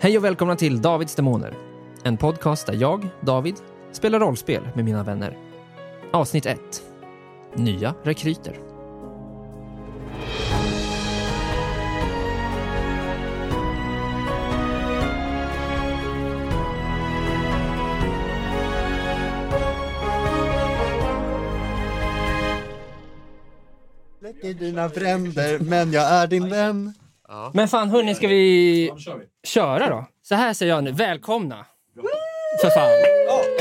Hej och välkomna till Davids Demoner. En podcast där jag, David, spelar rollspel med mina vänner. Avsnitt 1. Nya rekryter. Släck i dina bränder, men jag är din vän. Men fan hörni, ska vi köra då? Så här säger jag nu, välkomna! För fan.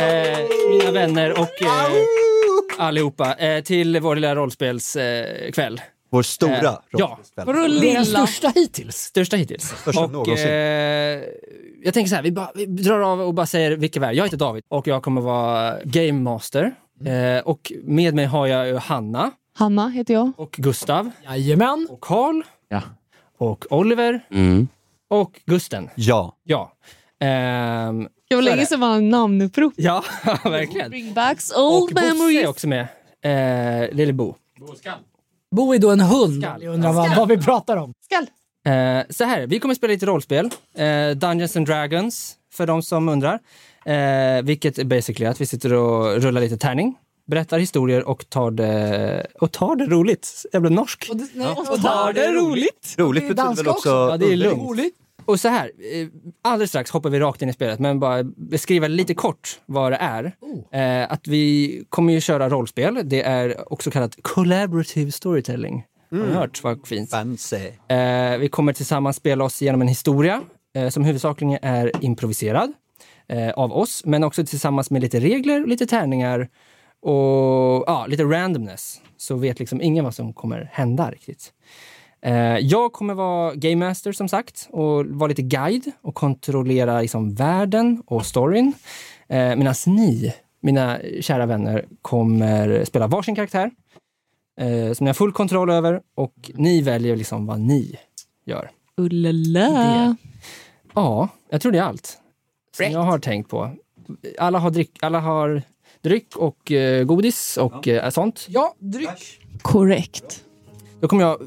Eh, mina vänner och eh, allihopa eh, till vår lilla rollspelskväll. Eh, kväll. Vår stora eh, ja, rollspelskväll. vår lilla... Den största hittills. Största hittills. Största någonsin. eh, jag tänker så här, vi, bara, vi drar av och bara säger vilka vi är. Jag heter David och jag kommer vara Game Master. Eh, och med mig har jag ju Hanna Hanna heter jag. och Gustav Jajamän. och Karl Ja. och Oliver Mm. och Gusten. Ja. Ja. Ehm, Det var Så är länge det. sedan man hade namnupprop. ja, verkligen. Bring backs Och old Bosse är memories. också med. Eh, Lille Bo. Bo är då en hund. Skall. Jag undrar vad, vad vi pratar om. Eh, så här, vi kommer spela lite rollspel. Eh, Dungeons and Dragons, för de som undrar. Eh, vilket är basically att vi sitter och rullar lite tärning, berättar historier och tar det, och tar det roligt. Jag blev norsk. Och, Och tar det roligt. Roligt Det är betyder danska väl också... också. Ja, det är underligt. lugnt. Och så här, eh, alldeles strax hoppar vi rakt in i spelet, men bara beskriva lite kort vad det är. Eh, att vi kommer ju köra rollspel. Det är också kallat collaborative storytelling. Har ni hört vad fint? Fancy. Eh, vi kommer tillsammans spela oss igenom en historia eh, som huvudsakligen är improviserad eh, av oss, men också tillsammans med lite regler, lite tärningar och ja, lite randomness. Så vet liksom ingen vad som kommer hända riktigt. Eh, jag kommer vara game master som sagt och vara lite guide och kontrollera liksom världen och storyn. Eh, Medan ni, mina kära vänner, kommer spela varsin karaktär eh, som ni har full kontroll över och ni väljer liksom vad ni gör. Ullala. Ja, jag tror det är allt som jag har tänkt på. Alla har dryck, alla har dryck och eh, godis och eh, sånt. Ja, dryck. Korrekt. Då kommer jag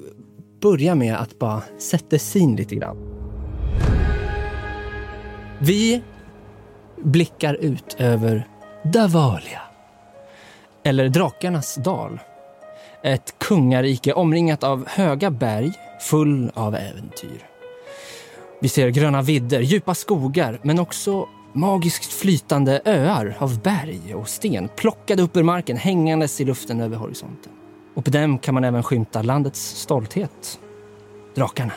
börja med att bara sätta sin lite grann. Vi blickar ut över Davalia. Eller Drakarnas dal. Ett kungarike omringat av höga berg full av äventyr. Vi ser gröna vidder, djupa skogar men också magiskt flytande öar av berg och sten plockade upp ur marken hängandes i luften över horisonten. Och på dem kan man även skymta landets stolthet. Drakarna.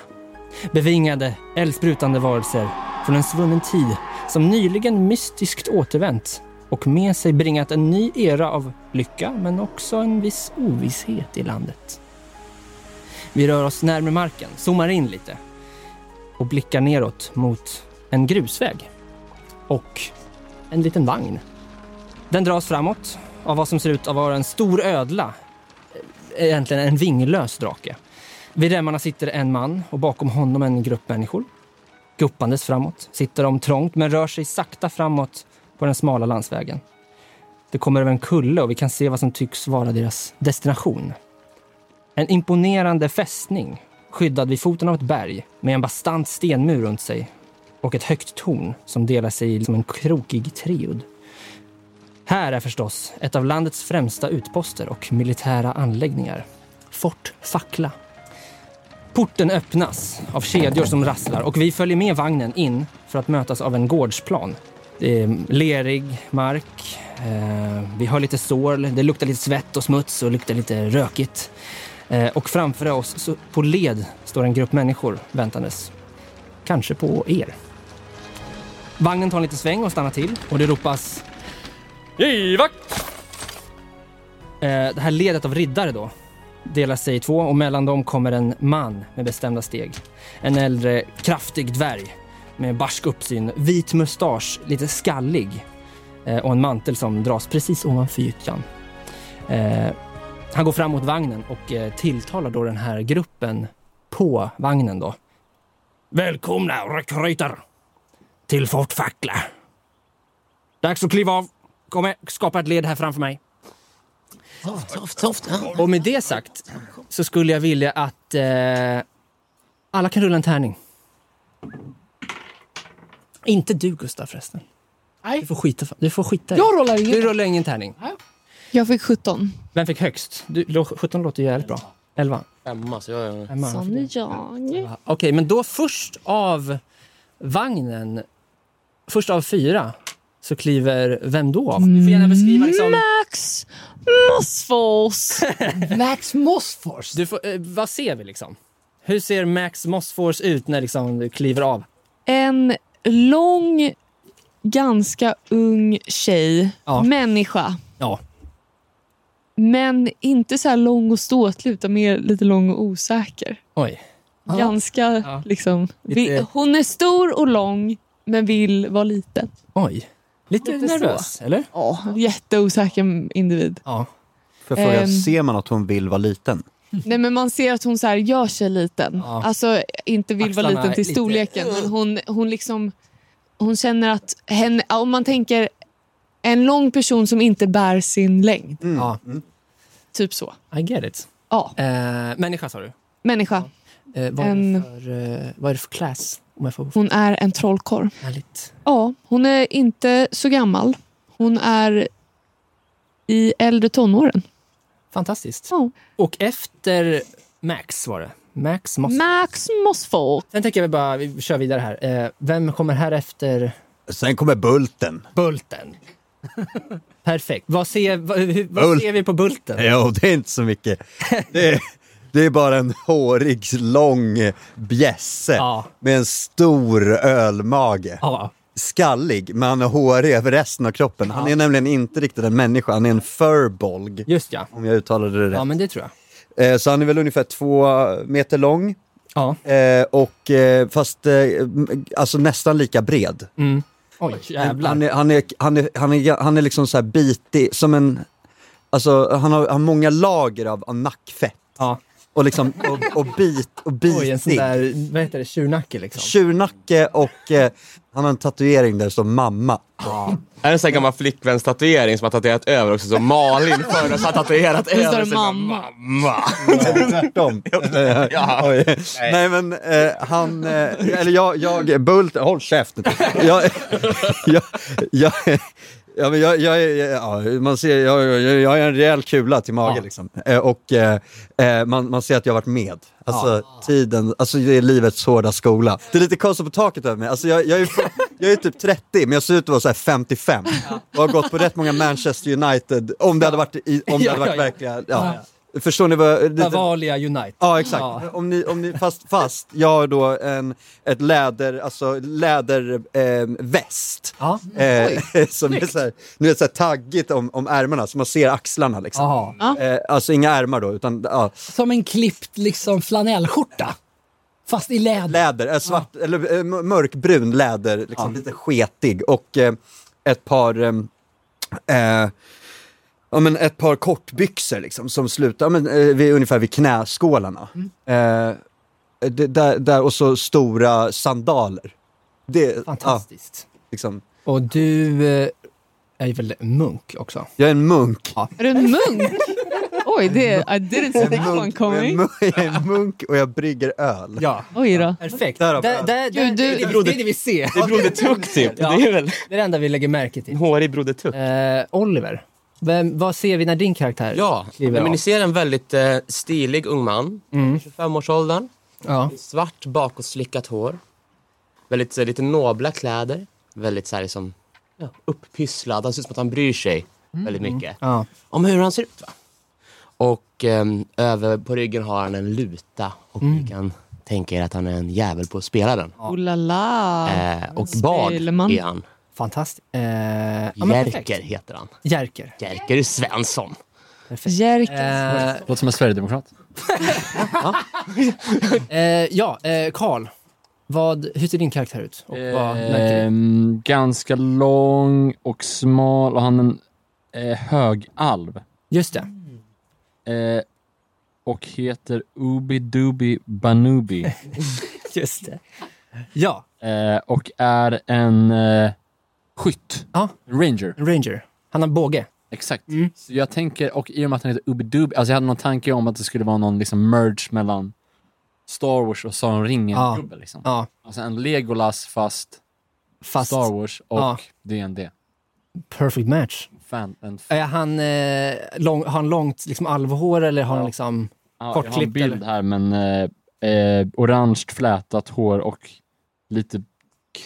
Bevingade, eldsprutande varelser från en svunnen tid som nyligen mystiskt återvänt och med sig bringat en ny era av lycka men också en viss ovisshet i landet. Vi rör oss närmare marken, zoomar in lite och blickar neråt mot en grusväg och en liten vagn. Den dras framåt av vad som ser ut att vara en stor ödla egentligen en vinglös drake. Vid remmarna sitter en man och bakom honom en grupp människor. Guppandes framåt sitter de trångt men rör sig sakta framåt på den smala landsvägen. Det kommer över en kulle och vi kan se vad som tycks vara deras destination. En imponerande fästning skyddad vid foten av ett berg med en bastant stenmur runt sig och ett högt torn som delar sig i som en krokig triod. Här är förstås ett av landets främsta utposter och militära anläggningar. Fort Fackla. Porten öppnas av kedjor som rasslar och vi följer med vagnen in för att mötas av en gårdsplan. Det är lerig mark, eh, vi hör lite sorl, det luktar lite svett och smuts och luktar lite rökigt. Eh, och framför oss så på led står en grupp människor väntandes. Kanske på er. Vagnen tar en liten sväng och stannar till och det ropas Givakt! Eh, Det här ledet av riddare då delar sig i två och mellan dem kommer en man med bestämda steg. En äldre kraftig dvärg med barsk uppsyn, vit mustasch, lite skallig eh, och en mantel som dras precis ovanför gyttjan. Eh, Han går fram mot vagnen och eh, tilltalar då den här gruppen på vagnen då. Välkomna rekryter till Fort Fackla. Dags att kliva av. Kom här, skapa ett led här framför mig. Soft, soft. Ja. Och med det sagt så skulle jag vilja att eh, alla kan rulla en tärning. Inte du, Gustav, förresten. Nej. Du får skita, du får skita i det. Jag rullar ingen. Du rullar ingen tärning. Jag fick 17. Vem fick högst? Du, lå- 17 låter ju jävligt bra. 11. Femma, så jag... Emma, vad Som fick du? jag. Okej, men då först av vagnen, först av fyra, så kliver vem då? av? Du får gärna beskriva liksom... Max Mossfors. Max Mossfors. Du får, eh, vad ser vi liksom? Hur ser Max Mossfors ut när liksom du kliver av? En lång, ganska ung tjej. Ja. Människa. Ja. Men inte så här lång och ståtlig, utan mer lite lång och osäker. Oj. Ganska Ja. liksom... Lite- vi- Hon är stor och lång, men vill vara liten. Oj. Lite, Lite nervös, eller? Ja, jätteosäker individ. Ja. För fråga, Ehm. ser man att hon vill vara liten? Nej, men man ser att hon så här gör sig liten. Mm. Ja. Alltså inte vill vara Axlarna liten till lite- storleken. Men hon, hon liksom... Hon känner att... Henne, ja, om man tänker en lång person som inte bär sin längd. ja. Typ så. I get it. Ja, Eh, människa sa du? människa. Eh, vad, är det En- för, eh, vad är det för class? Om jag får... Hon är en trollkorv. Härligt. Ja, hon är inte så gammal. Hon är i äldre tonåren. Fantastiskt. Ja. Och efter Max var det. Max Moss. Max Mossfolk. Sen tänker jag vi bara, vi kör vidare här. Eh, vem kommer här efter Sen kommer Bulten. Bulten? Perfekt. Vad ser, vad, hur, vad Bult. ser vi på Bulten? Jo, det är inte så mycket. Det är, det är bara en hårig, lång bjässe Ja. med en stor ölmage. Ja. Skallig, men han är hårig över resten av kroppen. Han är nämligen inte riktigt en människa, han är en furbolg. Just ja. Om jag uttalade det Ja, rätt. men det tror jag. Eh, Så han är väl ungefär två meter lång. Ja. Eh, och eh, fast eh, m- alltså nästan lika bred. Oj, Han, jävlar. han, är, han, är, han, är, han, är, han är liksom så här bitig, som en... Alltså han har, han har många lager av, av nackfett. Ja. Och liksom, och, och bit, och bitig. Oj, en sån där, vad heter det, tjurnacke liksom. Tjurnacke och eh, han har en tatuering där det står mamma. Är det en sån här gammal flickvänstatuering som har tatuerat över också? Som Malin förra så har tatuerat står över det sig. mamma. mamma. Tvärtom. Ja. Oj. Nej men eh, han, eh, eller jag, jag Bult, håll käften. Jag, jag, jag, ja, men jag, jag, är- ja, man ser, jag, jag, jag är en rejäl kula till magen Ja. liksom. Eh, och eh, eh, man, man ser att jag har varit med. Alltså tiden, alltså det är livets hårda skola. Det är lite konstigt på taket över mig. Alltså jag, jag, är, fu- jag är typ 30 men jag ser ut att vara så här 55. Och har gått på rätt många Manchester United, om det hade varit, i, om det Ja, hade varit ja, ja. verkliga, ja. Förstår ni vad, lite, Bavalia Unite. Ja, exakt. Ja. Om ni, om ni, fast, fast jag har då en, ett läder, alltså läderväst. Eh, väst. Ja. Eh, som är så här, nu är det så här taggigt om, om ärmarna, så man ser axlarna. Liksom. Aha. Eh, alltså inga ärmar då, utan ja, Som en klippt liksom flanellskjorta. Fast i läder. läder, eh, svart, eller eh, m- mörkbrun läder, liksom, lite sketig. Och eh, ett par... ehm, Eh, Ja, men ett par kortbyxor liksom, som slutar ja, men, eh, vid, ungefär vid knäskålarna. Mm. Eh, det, där, där, och så stora sandaler. Det, ja, Fantastiskt. liksom. Och du eh, är väl munk också? Jag är en munk. Är du en munk? Oj, det, I didn't see that one och jag, är coming. mu- jag är en munk och jag brygger öl. Ja. Oj då. Perfekt. Där- Där- där- Gud, där- du- det är det vi ser. Det är Broder Tuck typ. Ja. Det är väl Det är det enda vi lägger märke till. en hårig Broder Tuck. Eh, Oliver, vem, vad ser vi när din karaktär Ja, kliver men av? Mm. ni ser en väldigt eh, stilig ung man. 25-årsåldern. Ja. Svart bakåtslickat hår. Väldigt eh, lite nobla kläder. Väldigt så här, liksom, ja, upppysslad. Han ser ut som att han bryr sig Mm. väldigt mycket. Ja. Om hur han ser ut. Va? Och ehm, över på ryggen har han en luta. Och Mm. ni kan tänka er att han är en jävel på att spela den. Oh la la. Eh, och bard Spelman. är han. Fantastiskt. Eh, ja, men perfekt. Jerker heter han. Jerker. Jerker Svensson. Jerka. Eh, Låter som en sverigedemokrat. eh, ja, eh, Karl. Vad, hur ser din karaktär ut? Och vad märker du? Eh, Ehm, ganska lång och smal och han är en eh, högalv. Just det. Eh, och heter Ubi Dubi Banubi. Just det. Ja, Eh, och är en eh, skytt. Ja. En Ranger. Ranger. Han har båge. Exakt. Så jag tänker, och i och med att han heter Ubi Dubi, alltså jag hade någon tanke om att det skulle vara någon liksom merge mellan Star Wars och Sagan om Ja. ringen-gubbe. Liksom. Ja. Alltså en Legolas fast Fast Star Wars och Ja. D&D. perfect match. Fan, en f- Är han, eh, lång, har han långt liksom, alvhår eller har han Ja. liksom... Ja, jag har en kortklippt, bild eller? här, men eh, eh, orange flätat hår och lite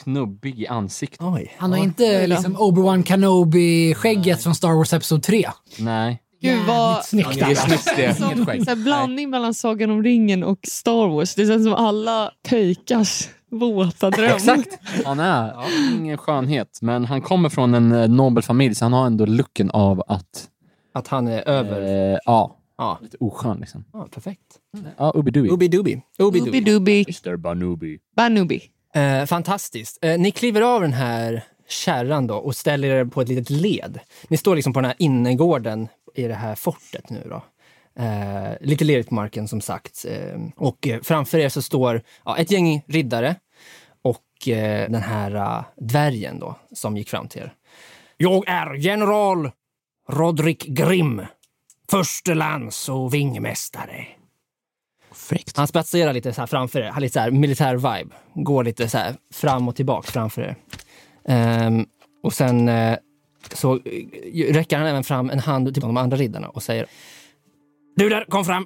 knubbig i ansiktet. Oj. Han har Oj inte då. liksom Obi-Wan Kenobi-skägget från Star Wars Episod 3. Nej. Gud vad... Snyggt Det är alltså. snyggt det. Som Inget skägg. så här, blandning mellan Sagan om ringen och Star Wars. Det känns som alla pöjkars våta dröm. Exakt! Han är ingen skönhet, men han kommer från en eh, nobel familj så han har ändå looken av att... Att han är över. Eh, ja, Ja. lite oskön liksom. Ja, perfekt. Ja, ubidui. Ubi-dubi. Ubi-dubi. Ubidubi Mr Banubi. Banubi. Eh, fantastiskt. Eh, ni kliver av den här kärran då och ställer er på ett litet led. Ni står liksom på den här innergården i det här fortet nu då. Eh, lite ledigt på marken som sagt. Eh, och eh, framför er så står ja, ett gäng riddare och eh, den här eh, dvärgen då som gick fram till er. Jag är general Rodrik Grimm, förstelands och vingmästare. Fräckt. Han spatserar lite så här framför er, har lite så här militär vibe. Går lite så här fram och tillbaka framför er. Ehm, och sen eh, så eh, räcker han även fram en hand till de andra riddarna och säger Du där, kom fram!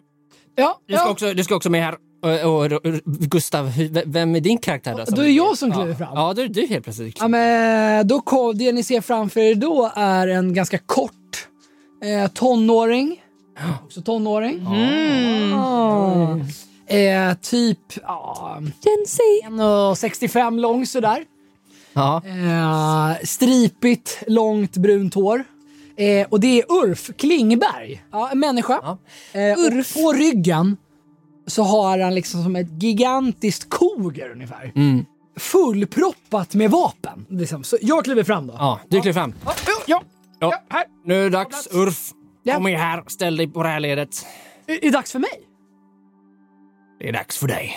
Ja, Du ska, ja. också, du ska också med här. Och, och, och, Gustav, hur- v- vem är din karaktär då? som- Då är det jag som kliver ja. fram. Ja, då är det du helt plötsligt. Ja, men då kom, det ni ser framför er då är en ganska kort eh, tonåring. Också tonåring. Ah. Eh, typ ah, Jensi. 65 lång sådär. Ja. Eh, stripigt, långt brunt hår. Eh, och det är Ulf Klingberg, ja, en människa. Ja. Eh, och på ryggen så har han liksom som ett gigantiskt koger ungefär. Mm. Fullproppat med vapen. Liksom. Så jag kliver fram då. ja, du kliver fram. Ja, Ja. här. Nu är det dags, Urf. Ja. Kom med här, ställ dig på det här ledet. Är det dags för mig? Det är dags för dig.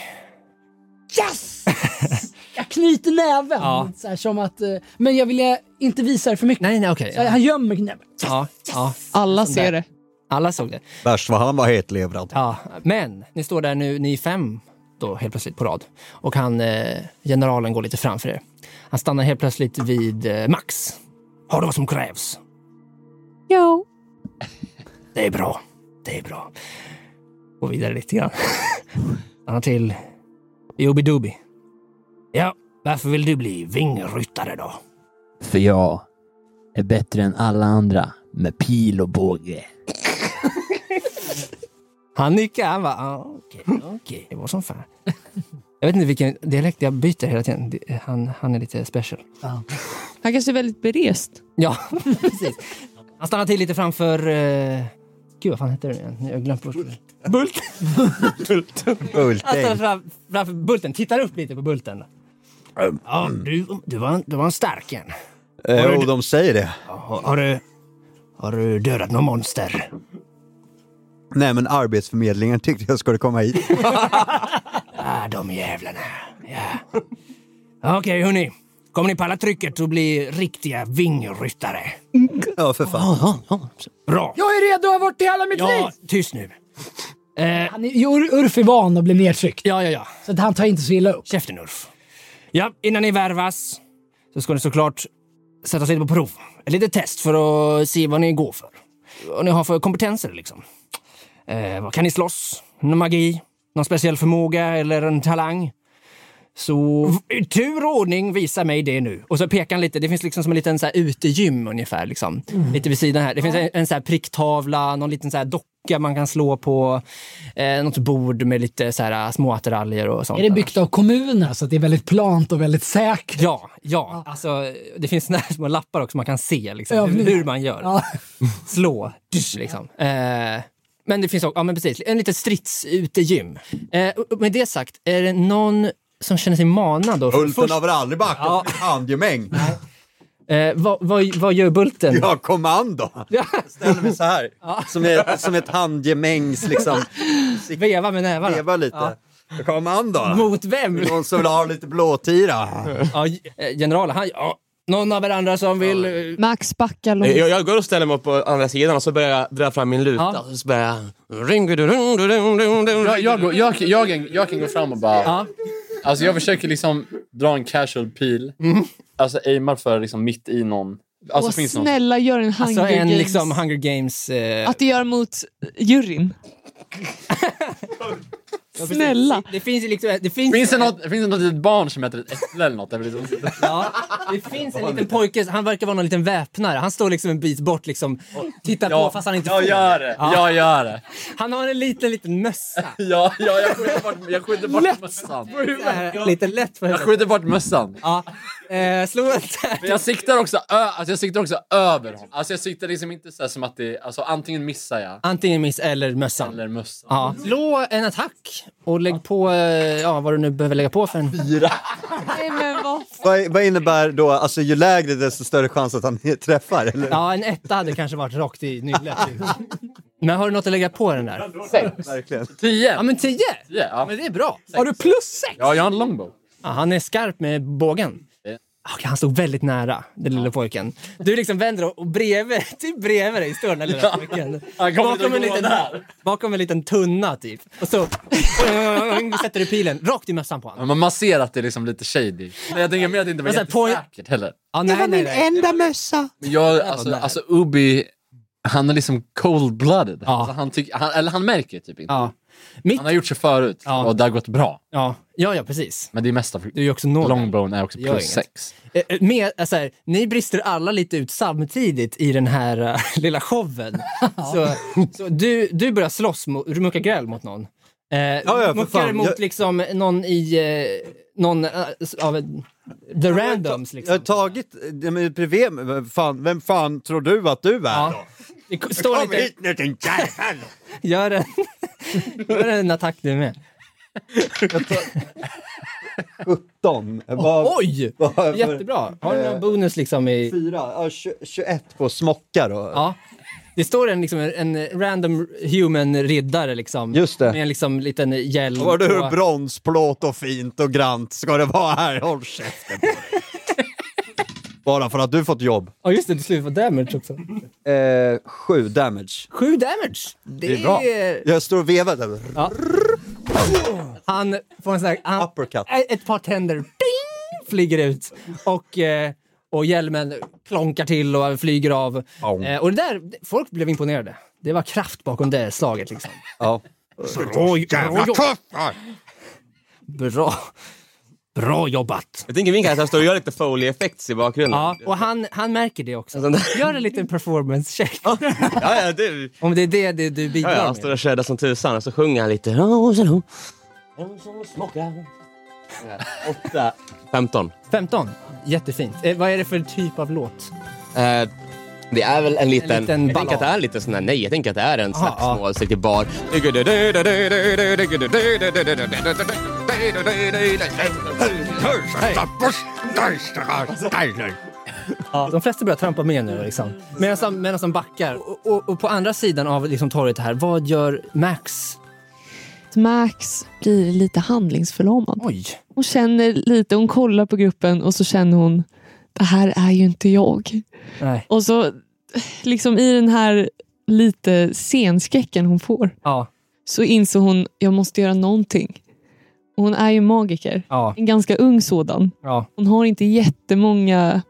Yes! jag knyter näven. Ja. Så här, som att, eh, men jag vill eh, inte visa det för mycket. Nej, nej, okej. Så Han gömmer näven. Ja, ja, Alla ser där. det. alla såg det. Värst vad han var hetlevrad. Ja, men ni står där nu, ni är fem då helt plötsligt på rad. Och han, eh, generalen går lite framför er. Han stannar helt plötsligt vid eh, Max. Har du vad som krävs? Jo. Det är bra. Det är bra. Gå vidare lite grann. Stanna till Jobidubi. Ja, varför vill du bli vingryttare då? För jag är bättre än alla andra med pil och båge. Han nickar. Han bara, ah, okej, okej. Det var som fan. Jag vet inte vilken dialekt jag byter hela tiden. Det- Han, han är lite special. Han kanske är väldigt berest. Ja, precis. Han stannar till lite framför... Eh, gud, vad fan hette det nu igen? Jag har glömt bort det. Bult. Han stannar Ulting. Alltså, fram, framför Bulten. Tittar upp lite på Bulten. Ja, du, du, var, en- du var en stark en. Eh, och de säger det. Ja, Har, har, du, har du dödat någon monster? Nej men arbetsförmedlingen tyckte jag skulle komma hit. Ah, de jävlarna. Ja. Okej, hörni. Kommer ni palla trycket och bli riktiga vingryttare? Ja för fan. Bra. Jag är redo, jag har varit det hela mitt liv! Ja, tyst nu. Eh, Han är, jo, Ulf är van att bli nedtryckt, ja, ja, ja. så att han tar inte så illa upp. Käften Ulf. Ja, innan ni värvas så ska ni såklart sättas lite på prov. Ett litet test för att se vad ni går för. Vad ni har för kompetenser liksom. Eh, vad kan ni slåss? Någon magi? Någon speciell förmåga eller en talang? Så v- i tur och ordning, visa mig det nu. Och så pekar han lite, det finns liksom som en liten så här utegym ungefär. Liksom. Mm. Lite vid sidan här. Det finns en, en så här pricktavla, någon liten så här docka man kan slå på. Eh, något bord med lite så här små attiraljer och sånt. Är det där. byggt av kommunen så att det är väldigt plant och väldigt säkert? Ja, ja. Alltså, det finns såna här små lappar också man kan se liksom, hur, Övningar. hur man gör. Ja. Slå, dysch, liksom. Eh, men det finns också, ja men precis, en liten stridsutegym. Eh, och- och med det sagt, är det någon som känner sig manad? Då? Ulten Först- har väl aldrig backat Ja. från ett handgemäng. eh, vad, vad, vad gör Bulten? Jag har kommando. Ja. Jag ställer mig så här. Som, är, som ett handgemängs liksom. Veva med nävarna. Leva lite. Kommando. Mot vem? Någon som vill ha lite blåtira. ja, eh, generalen, han, ja, någon av er andra som vill... eh, Max backar långt. Jag, jag går och ställer mig på andra sidan och så börjar jag dra fram min luta. Ja. Och så börjar jag... Ring-a-ding-a-ding-a-ding-a-ding. Jag, jag, går- jag, jag, jag, jag kan gå fram och bara... Ja. Alltså jag försöker liksom dra en casual pil. alltså aimar för liksom mitt i någon. Alltså Åh, finns det någon. snälla gör en Hunger Alltså en Games. liksom Hunger Games... Eh, Att du gör mot juryn. snälla. Det finns ju liksom... Det finns, Finns det, något, finns det något litet barn som äter ett äpple eller något? Det är väl liksom- Ja, det finns en liten pojke, han verkar vara någon liten väpnare. Han står liksom en bit bort liksom, tittar på fast han inte jag får. gör det! Ja. Jag gör det! Han har en liten, liten mössa. Ja, ja, jag skjuter bort, jag skjuter bort Lätt. mössan. Så här, Lite lätt för Jag huvudet. skjuter bort mössan. Ja. Eh, slå en tärning. Men jag siktar också, ö- alltså jag siktar också över honom. Alltså jag siktar liksom inte så här som att det alltså antingen missar jag Antingen miss eller mössan. eller mössan. Ja. Slå en attack och lägg på eh, ja, vad du nu behöver lägga på för en... Nej, men vad Vad, vad innebär då, alltså ju lägre desto större chans att han träffar? Eller? Ja, en etta hade kanske varit rakt i nyllet. Men har du något att lägga på den där? Verkligen. Tio! Ja, men tio! Tio, ja. Men det är bra. Har du plus sex? ja, jag har en longbow. Ja, han är skarp med bågen. Ja. Okej, han stod väldigt nära, den lilla pojken. Du liksom vänder och- och bredvid, typ bredvid dig står den där lilla pojken. Han kommer Bakom en, inte att gå liten, där. bakom en liten tunna typ. Och så sätter du pilen rakt i mössan på honom. Men man- man ser att det är liksom lite shady. Men jag tänker med att det inte var Men så här, poj- jättesäkert heller. Ja, nej, nej, nej. enda mössa. Men jag, alltså, nära. alltså Ubi, han är liksom cold-blooded. Ja. Alltså, han, tycker- han, eller han märker typ inte. Ja. Mitt, Han har gjort sig förut Ja. och det har gått bra. ja, ja, ja, precis. Men det är mest av Du är ju också nåd. Longbow är också Gör plus inget. sex. Eh, eh, Med, eh, så här, ni brister alla lite ut samtidigt i den här eh, lilla showen. så, så du, du börjar slåss, mot, du muckar gräl mot någon. Eh, ja, för muckar fan. mot Jag- liksom någon i, eh, någon eh, s- av eh, the randoms Jag har liksom. tagit, ja, men bredvid mig, vem fan, vem fan tror du att du är? Ja. Det k- står lite, nu din jävel! gör en, gör en attack du med. 17. Vad- Oj! vad- vad- eh, Jättebra! Har du någon bonus liksom i... Fyra, ja, tju- 21 på smocka då. Ja. Det står en, liksom, en random human riddare liksom. Just det. Med en liksom, liten hjälm. Var du och- hur bronsplåt och fint och grant ska det vara här? Håll käften på dig. Bara för att du fått jobb. Ja just det, du slår på damage också. Eh, sju damage. Sju damage! Det, är bra. är- Jag står och vevar där. Han får en sån här... Han, Uppercut. Ä- Ett par tänder ding, flyger ut och, eh, och hjälmen klonkar till och flyger av. Au. Eh, Och det där, folk blev imponerade. Det var kraft bakom det slaget liksom. Ja. Bra, bra, jobbat. bra, bra jobbat! Jag tänker min karaktär står och gör lite folieeffekts i bakgrunden. Ja, och han, han märker det också. Gör en liten performance check. ja, ja, det, Om det är det, det du ja, ja, bidrar han med. står och shreddar som tusan och så sjunger han lite. "Oh, hello." Åtta. Femton. 15. Jättefint. Eh, vad är det för typ av låt? Eh, det är väl en liten... En liten jag tänker att det är ballad. en liten sån här, nej, jag tänker att det är en Aha, ja. slagsmål, riktig bar. Ja. De flesta börjar trampa med nu liksom. Medan de, medan de backar. Och, och, och på andra sidan av liksom, torget här, vad gör Max? Max blir lite handlingsförlamad. Oj! Hon känner lite, hon kollar på gruppen och så känner hon det här är ju inte jag. Nej. Och så liksom i den här lite scenskräcken hon får Ja. så insåg hon jag måste göra någonting. Och hon är ju magiker. Ja. En ganska ung sådan. Ja. Hon har inte jättemånga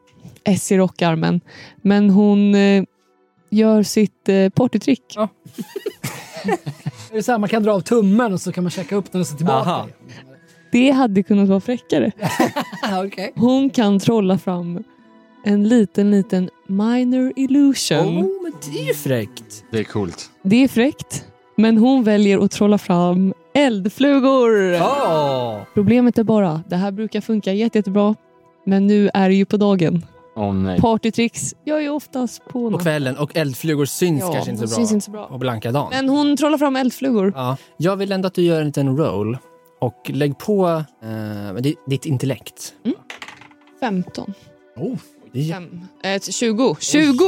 S i rockarmen. Men hon eh, gör sitt eh, partytrick. Är det så här, man kan dra av tummen och så kan man checka upp den och så tillbaka. Aha. Det hade kunnat vara fräckare. Ja, okej. Hon kan trolla fram en liten, liten minor illusion. Oh, men det är ju fräckt! Det är coolt. Det är fräckt, men hon väljer att trolla fram eldflugor. Ja! Problemet är bara, det här brukar funka jätte, jättebra. Men nu är det ju på dagen. Åh nej. Partytricks gör ju oftast på På kvällen. Och eldflugor syns Ja, kanske inte de så bra. syns inte så bra. På blanka dagen. Men hon trollar fram eldflugor. Ja. Jag vill ändå att du gör en liten roll. Och lägg på eh, men det- ditt intellekt. 15. Oh, det är- Fem. Eh, 20. 20! Så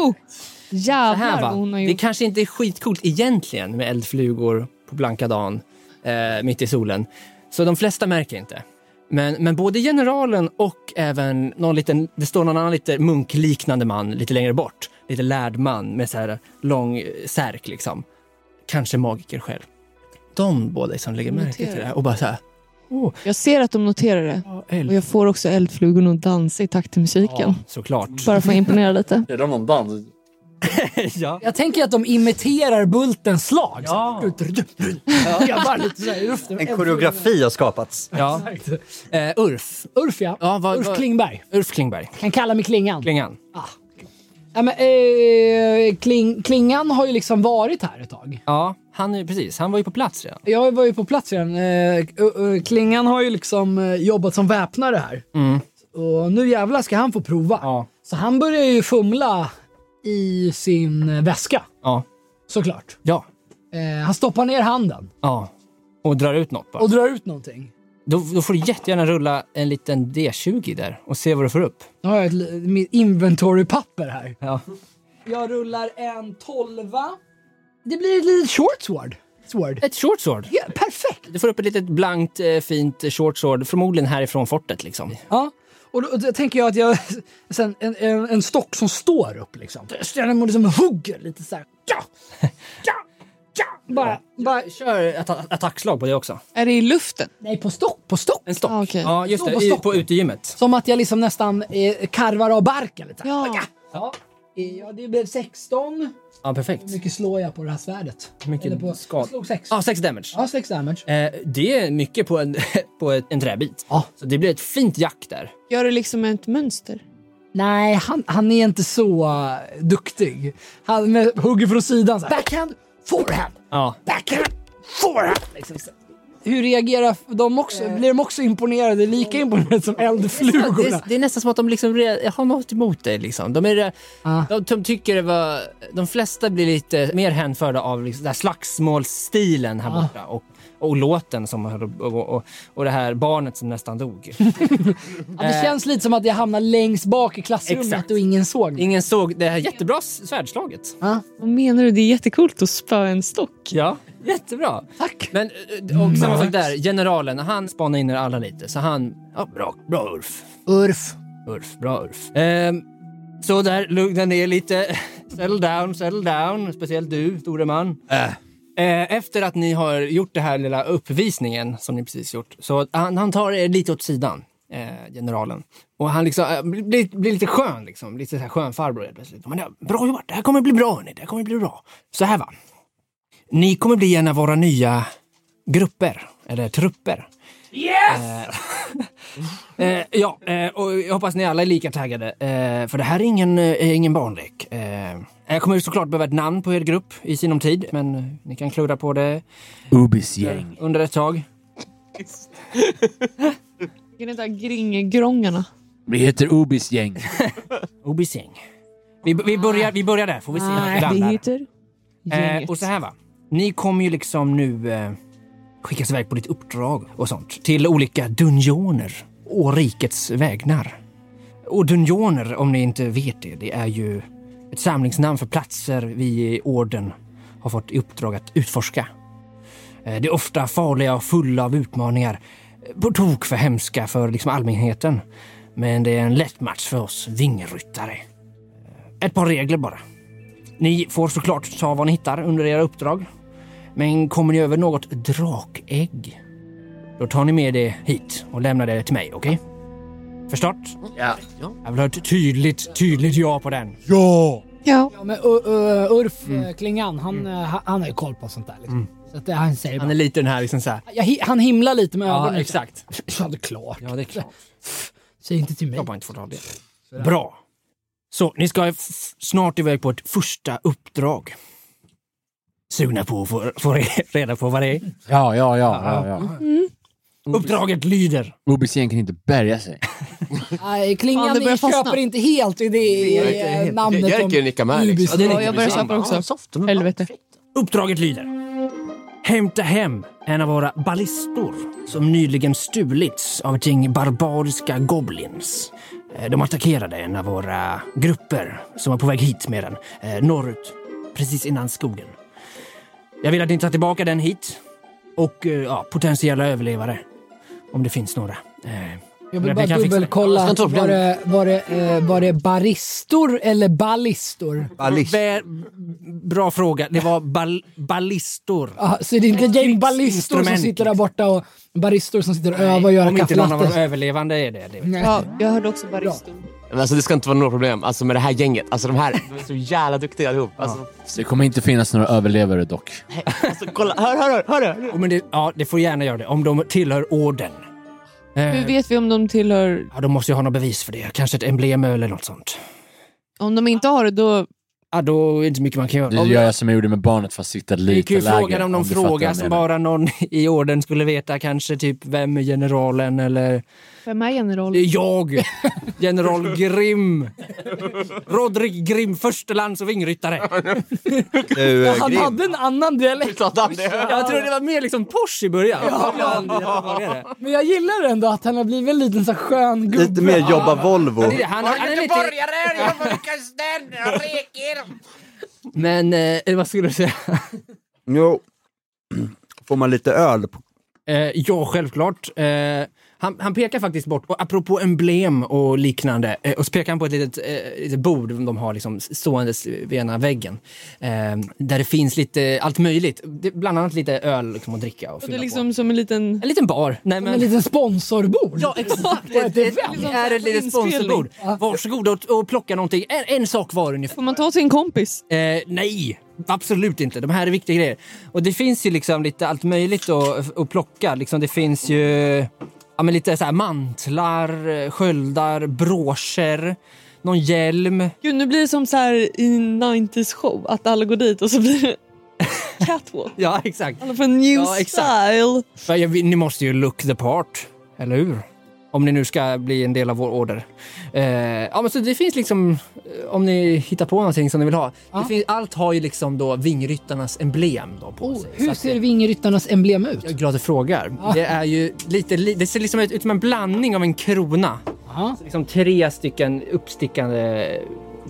här, Jävlar va? vad hon har Det gjort. kanske inte är skitcoolt egentligen med eldflugor på blanka dagen eh, mitt i solen. Så de flesta märker inte. Men, men både generalen och även någon liten, det står någon annan lite munkliknande man lite längre bort. Lite lärd man med så här lång eh, särk liksom. Kanske magiker själv. De båda som lägger märke till Noterar. det här och bara så här. Jag ser att de noterar det. Ja, Och eld. jag får också eldflugorna att dansa i takt till musiken. Ja, såklart. Bara för att imponera lite. Är det någon dans? ja. Jag tänker att de imiterar Bultens slag. Ja. Jag bara lite så här i luften. En koreografi har skapats. ja. Eh, Urf. Ulf ja. Ja, vad, Ulf vad- Klingberg. Ulf Klingberg. Kan kalla mig Klingan. Klingan. Ja, men, eh, Kling, Klingan har ju liksom varit här ett tag. Ja, han, är- precis. han var ju på plats redan. Jag var ju på plats redan. Eh, Ö- Ö- Klingan har ju liksom eh, jobbat som väpnare här. Och nu jävlar ska han få prova. Mm. Ja. Så han börjar ju fumla i sin eh, väska, Ja. såklart. Ja. Eh, han stoppar ner handen ja. Och drar ut något bara. och drar ut någonting. Då, då får du jättegärna rulla en liten D20 där och se vad du får upp. Nu har jag ett li- mitt inventory-papper här. Ja. Jag rullar en tolva. Det blir ett litet short sword. sword. Ett short sword. Ja, perfekt! Du får upp ett litet blankt eh, fint short sword, förmodligen härifrån fortet liksom. Ja. Och då, då tänker jag att jag... Sen, en, en, en stock som står upp liksom. Så jag liksom hugger lite så här. Ja, ja, ja. Bara, bara, Kör ett att- attackslag på det också. Är det i luften? nej, på stock, på stock. En stock. Ah, okej. Ja, just Slå det. på I, stocken. på utegymmet. Som att jag liksom nästan eh, karvar av barken lite. Ja. Ja. Eh, ja, det blev 16. Ja, perfekt. Hur mycket slår jag på det här svärdet? Hur mycket Eller på, skad- Jag slog 6. Ja, sex damage. Ja, 6 damage. Eh, det är mycket på en, på ett- en träbit. Ja. Så det blir ett fint jack där. Gör det liksom ett mönster? Nej, han, han är inte så eh, duktig. Han med, hugger från sidan så här. Backhand, forehand, Ja. backhand, forehand. Liksom. Hur reagerar de också? Blir de också imponerade? Lika imponerade som eldflugorna? Det, det är nästan som att de liksom re, har något emot dig. Liksom. De, är, re- Ah. de, de tycker det var... De flesta blir lite mer hänförda av liksom, den här slagsmålsstilen här borta. Och, och låten som, och, och, och det här barnet som nästan dog. Ja, det känns lite som att jag hamnar längst bak i klassrummet Exakt. och ingen såg mig. Ingen såg det här jättebra svärdslaget. Vad menar du? Det är jättekult att spöa en stock. Ja, jättebra. Tack! Men eh, och samma sak där, generalen, han spanade in er alla lite. Så han, ja, bra, bra Ulf. Urf. Ulf, bra Ulf. Ehm, så där, lugna ner lite. Settle down, settle down. Speciellt du, store man. Eh, efter att ni har gjort det här lilla uppvisningen som ni precis gjort, så han, han tar er lite åt sidan, eh, generalen. Och han liksom, eh, blir, blir lite skön, liksom. lite så här skön farbror helt plötsligt. Men det, bra jobbat, det här kommer bli bra hörni, det här kommer bli bra. Så här va. Ni kommer bli en av våra nya grupper, eller trupper. Eh, ja, eh, och jag hoppas ni alla är lika taggade. Eh, för det här är ingen, eh, ingen barnlek. Eh, jag kommer såklart behöva ett namn på er grupp i sinom tid, men eh, ni kan klura på det Ubis gäng. under ett tag. Är det inte gringgrångarna? Vi heter Ubis gäng. Obising. Vi, vi, börjar, vi börjar där, får vi se hur det Vi landar. heter Eh, gänget. och så här va. Ni kommer ju liksom nu eh, skickas iväg på lite uppdrag och sånt. Till olika dunjoner och rikets vägnar. Och dunjoner, om ni inte vet det, det är ju ett samlingsnamn för platser vi i orden har fått i uppdrag att utforska. Eh, det är ofta farliga och fulla av utmaningar. eh, På tok för hemska för liksom allmänheten. Men det är en lätt match för oss vingryttare. Eh, Ett par regler bara. Ni får såklart ta vad ni hittar under era uppdrag. Men kommer ni över något drakägg, då tar ni med det hit och lämnar det till mig, okej? Förstått? Ja. Jag vill ha ett tydligt, tydligt ja på den. Ja. Ja, men Ö- Ö- Ulf eh, Klingan, han, eh, han, han har ju koll på sånt där. Liksom. Så att det, han säger Han är lite den här liksom så här. bara, jag, hi- han himlar lite med Ja, ögonen. exakt. Ja, det är klart. Ja, det är klart. Säg inte till mig. Jag bara inte får ta det. Bra. Så, ni ska f- snart iväg på ett första uppdrag. Sugna på att få, få reda på vad det är? Ja, ja, ja. ja, ja. Uppdraget lyder... Ubis gäng kan inte bärga sig. Nej, Klingan Fan, det börjar köper fastna. inte helt i det Jag är eh, inte- namnet. Jerker om- nickar med. Liksom. Ubis. det är Ja, lite jag börjar köpa också. Helvete. Uppdraget lyder. Hämta hem en av våra ballistor som nyligen stulits av ett gäng barbariska goblins. Eh, De attackerade en av våra grupper som var på väg hit med den eh, norrut, precis innan skogen. Jag vill att ni tar tillbaka den hit och eh, ja, potentiella överlevare, om det finns några. Eh, Jag Men vill vi kan bara fixa det. dubbelkolla. Jag ska inte ta Var det, var, det, eh, var det baristor eller ballistor? Ballist. Vä- bra fråga. Det var bal- ballistor. Ja, Ah, så det är inte ett gäng ballistor som Instrument, liksom. sitter där borta och baristor som sitter och övar och Nej, gör Om inte kaffe någon av de latte. överlevande är det. det. Nej. Ja, jag hörde också baristor. Men alltså det ska inte vara några problem alltså, med det här gänget. Alltså de här, de är så jävla duktiga allihop. Alltså, Det kommer inte finnas några överlevare dock. alltså kolla, hör, hör, hör, hör, hör. Oh, Men det, ja, det får gärna göra det. Om de tillhör orden. Hur Eh, vet vi om de tillhör... ja, de måste ju ha något bevis för det. Kanske ett emblem eller något sånt. Om de inte har det, då... Ja, då är det inte mycket man kan göra. Det Om- gör jag som jag gjorde med barnet fast sitta Vi lite kan ju lägre. fråga dem någon du fattar fråga vad jag som menar. bara någon i orden skulle veta. Kanske typ vem är generalen eller... Vem är general? Det är jag! General Grimm! Rodrik Grimm, förstelands och vingryttare. Du, eh, Han Grim. hade en annan dialekt. Jag tror det var mer liksom Porsche i början. Ja. Men jag gillar ändå att han har blivit en liten så här skön gubbe. Lite mer jobba Volvo. Han, han är lite... Men eh, vad skulle du säga? Jo. Får man lite öl? På... Eh, ja, självklart. Eh, han, han pekar faktiskt bort, och apropå emblem och liknande, eh, och så pekar han på ett litet, eh, litet bord de har liksom ståendes vid ena väggen. Eh, där det finns lite allt möjligt, Det- bland annat lite öl liksom, att dricka och Och det fylla är på. liksom som en liten... En liten bar. Nej, En liten sponsorbord. Ja, exakt. Det, det är är ett litet sponsorbord. Varsågod och, och plocka någonting. En, en sak var ungefär. Får man ta sin kompis? Eh, nej, absolut inte. De här är viktiga grejer. Och det finns ju liksom lite allt möjligt att, att plocka. Liksom det finns ju ja, men lite så här mantlar, eh, sköldar, broscher, någon hjälm. Gud, nu blir det som så här i 90s show, att alla går dit och så blir det catwalk. Ja, exakt. Alla får en new Ja, exakt. style. Ja, jag- Ni måste ju look the part, eller hur? Om ni nu ska bli en del av vår order. Eh, ja, men så det finns liksom, eh, om ni hittar på någonting som ni vill ha. Det finns, allt har ju liksom då vingryttarnas emblem då på Oh, sig. Så hur att- ser vingeryttarnas emblem ut? Jag är glad du frågar. Det är ju lite, li- det ser liksom ut ut som en blandning av en krona. Ja. Liksom tre stycken uppstickande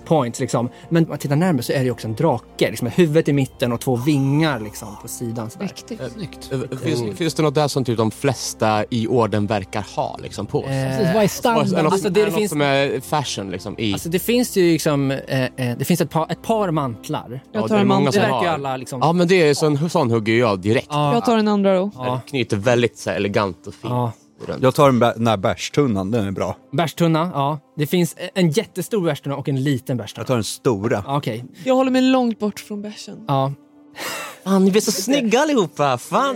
points liksom. Men om man tittar närmare så är det ju också en drake. Liksom med huvudet i mitten och två vingar liksom på sidan. Sådär. Eh, Mm. Finns, finns det något där som typ de flesta i orden verkar ha liksom, på sig? Precis, vad är standard? Eller något, Eh, alltså, alltså, det det, något finns- som är fashion liksom, i... Alltså det finns ju liksom, eh, eh, det finns ett par, ett par mantlar. Jag det tar, är en många andra. Det som- verkar ju har. alla liksom... Ja men det är sån, sån hugger ju jag direkt. Ja. jag tar den andra då. Ja. Knyter väldigt så här, elegant och fint Ja. runt. Jag tar den bä- den här bärstunnan, den är bra. Bärstunna, ja. Det finns en jättestor bärstunna och en liten bärstunna. Jag tar den stora. Ja, Okej. Jag håller mig långt bort från bärsen. Ja. Fan, ni blir så snygga allihopa! Fan!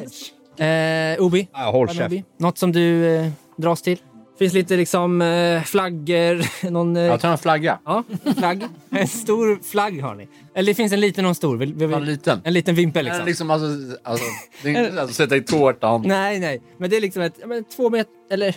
Eh, Obi? Ah, håll Vad, Obi? Något som du eh, dras till? Finns lite liksom eh, flaggor, någon... Eh, Jag tar en flagga. Ja, flagg. En stor flagg har ni. Eller det finns en liten och en stor. Vill, vill, En liten. en liten vimpel liksom. Liksom. Liksom, alltså, alltså, det är inte alltså, sätta i tårtan. Nej, nej. Men det är liksom ett, ja, men två meter, eller...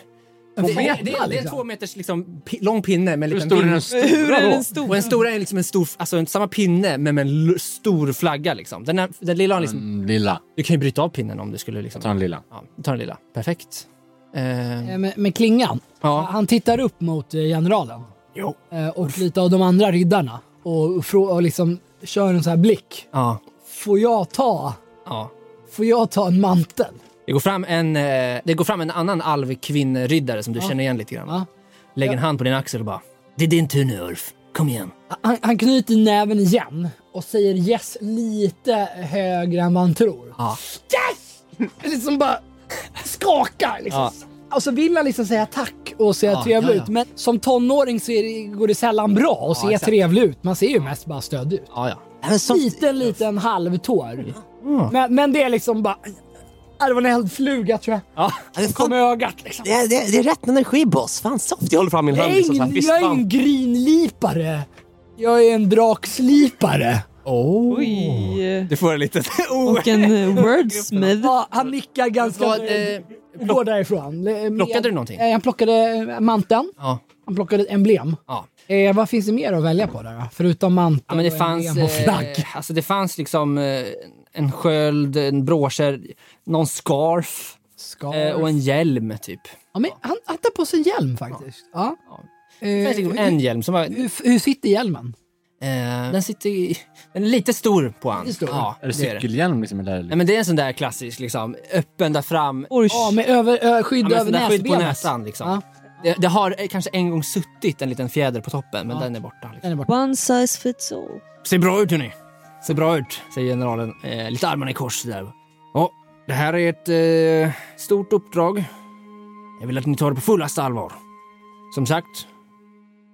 Det, det, det, det, är en liksom. två meters liksom, pi, lång pinne med en Hur liten stor vimpel. är den stora Hur är då? den stor? Och en stora är liksom en stor, alltså en, samma pinne men med en l- stor flagga liksom. Den, här, den lilla har liksom, Mm, Lilla. du kan ju bryta av pinnen om du skulle liksom. Ta den lilla. Ja, ta den lilla. Perfekt. Eh, Eh, Med, med klingan. ja. Han tittar upp mot eh, generalen. Jo. Eh, Och lite av de andra riddarna. Och, frå- och liksom kör en sån här blick. Ja. Får jag ta, Ja. får jag ta en mantel? Det går fram en, eh, det går fram en annan alvkvinnryddare som du känner igen lite grann. Ja. Lägger en hand på din axel och bara Det är din tur nu Ulf, kom igen. Han, han knyter näven igen och säger yes lite högre än vad han tror. Ja. Yes! Liksom bara skakar liksom. Ja. Och så vill han liksom säga tack och se Ja, trevlig ja, ja. ut. Men som tonåring så är det, går det sällan bra att se exakt. trevlig ut. Man ser ju mest bara stöd ut. Ja, ja. Liten, liten halvtår. Men, men det är liksom bara... Ah, Det var en eldfluga tror jag. Ja. Som kom i ögat liksom. Det, det, det är rätt energi boss, fan soft. Jag håller fram min Jag hand är liksom, så här, ingen, jag är fistbump. en grinlipare. Jag är en drakslipare. Oj. Du får en liten... eh, Oh. Och en eh, wordsmith. Ja, han nickar ganska... Vad, eh, går därifrån. Med- Plockade du någonting? Eh, Han plockade manteln. Ja. Han plockade ett emblem. Ja. Eh, vad finns det mer att välja på där då? Förutom mantel ja, men det och fanns... emblem och flagg. Eh, alltså det fanns liksom eh, en sköld, en broscher, någon scarf Scarf. eh, och en hjälm typ. ja, men han, han tar på sig en hjälm faktiskt. Det Ja. Eh, fanns liksom en hjälm som var... hur, hur, hur sitter hjälmen? Eh, den sitter i, Den är lite stor på han. Lite stor. Ja, Är det det är det. cykelhjälm liksom? Eller? är det- Nej, men det är en sån där klassisk liksom, öppen där fram. Oj. Ja, med över, ö, skydd Ja, men över sån där skydd på näsbenet. näsan liksom. Ja. Det, det har eh, kanske en gång suttit en liten fjäder på toppen, men Ja. den är borta. Liksom. Den är borta. One size fits all. Ser bra ut hörni. Ser bra ut, säger generalen. Eh, lite armarna i kors där. Ja, det här är ett eh, stort uppdrag. Jag vill att ni tar det på fullaste allvar. Som sagt,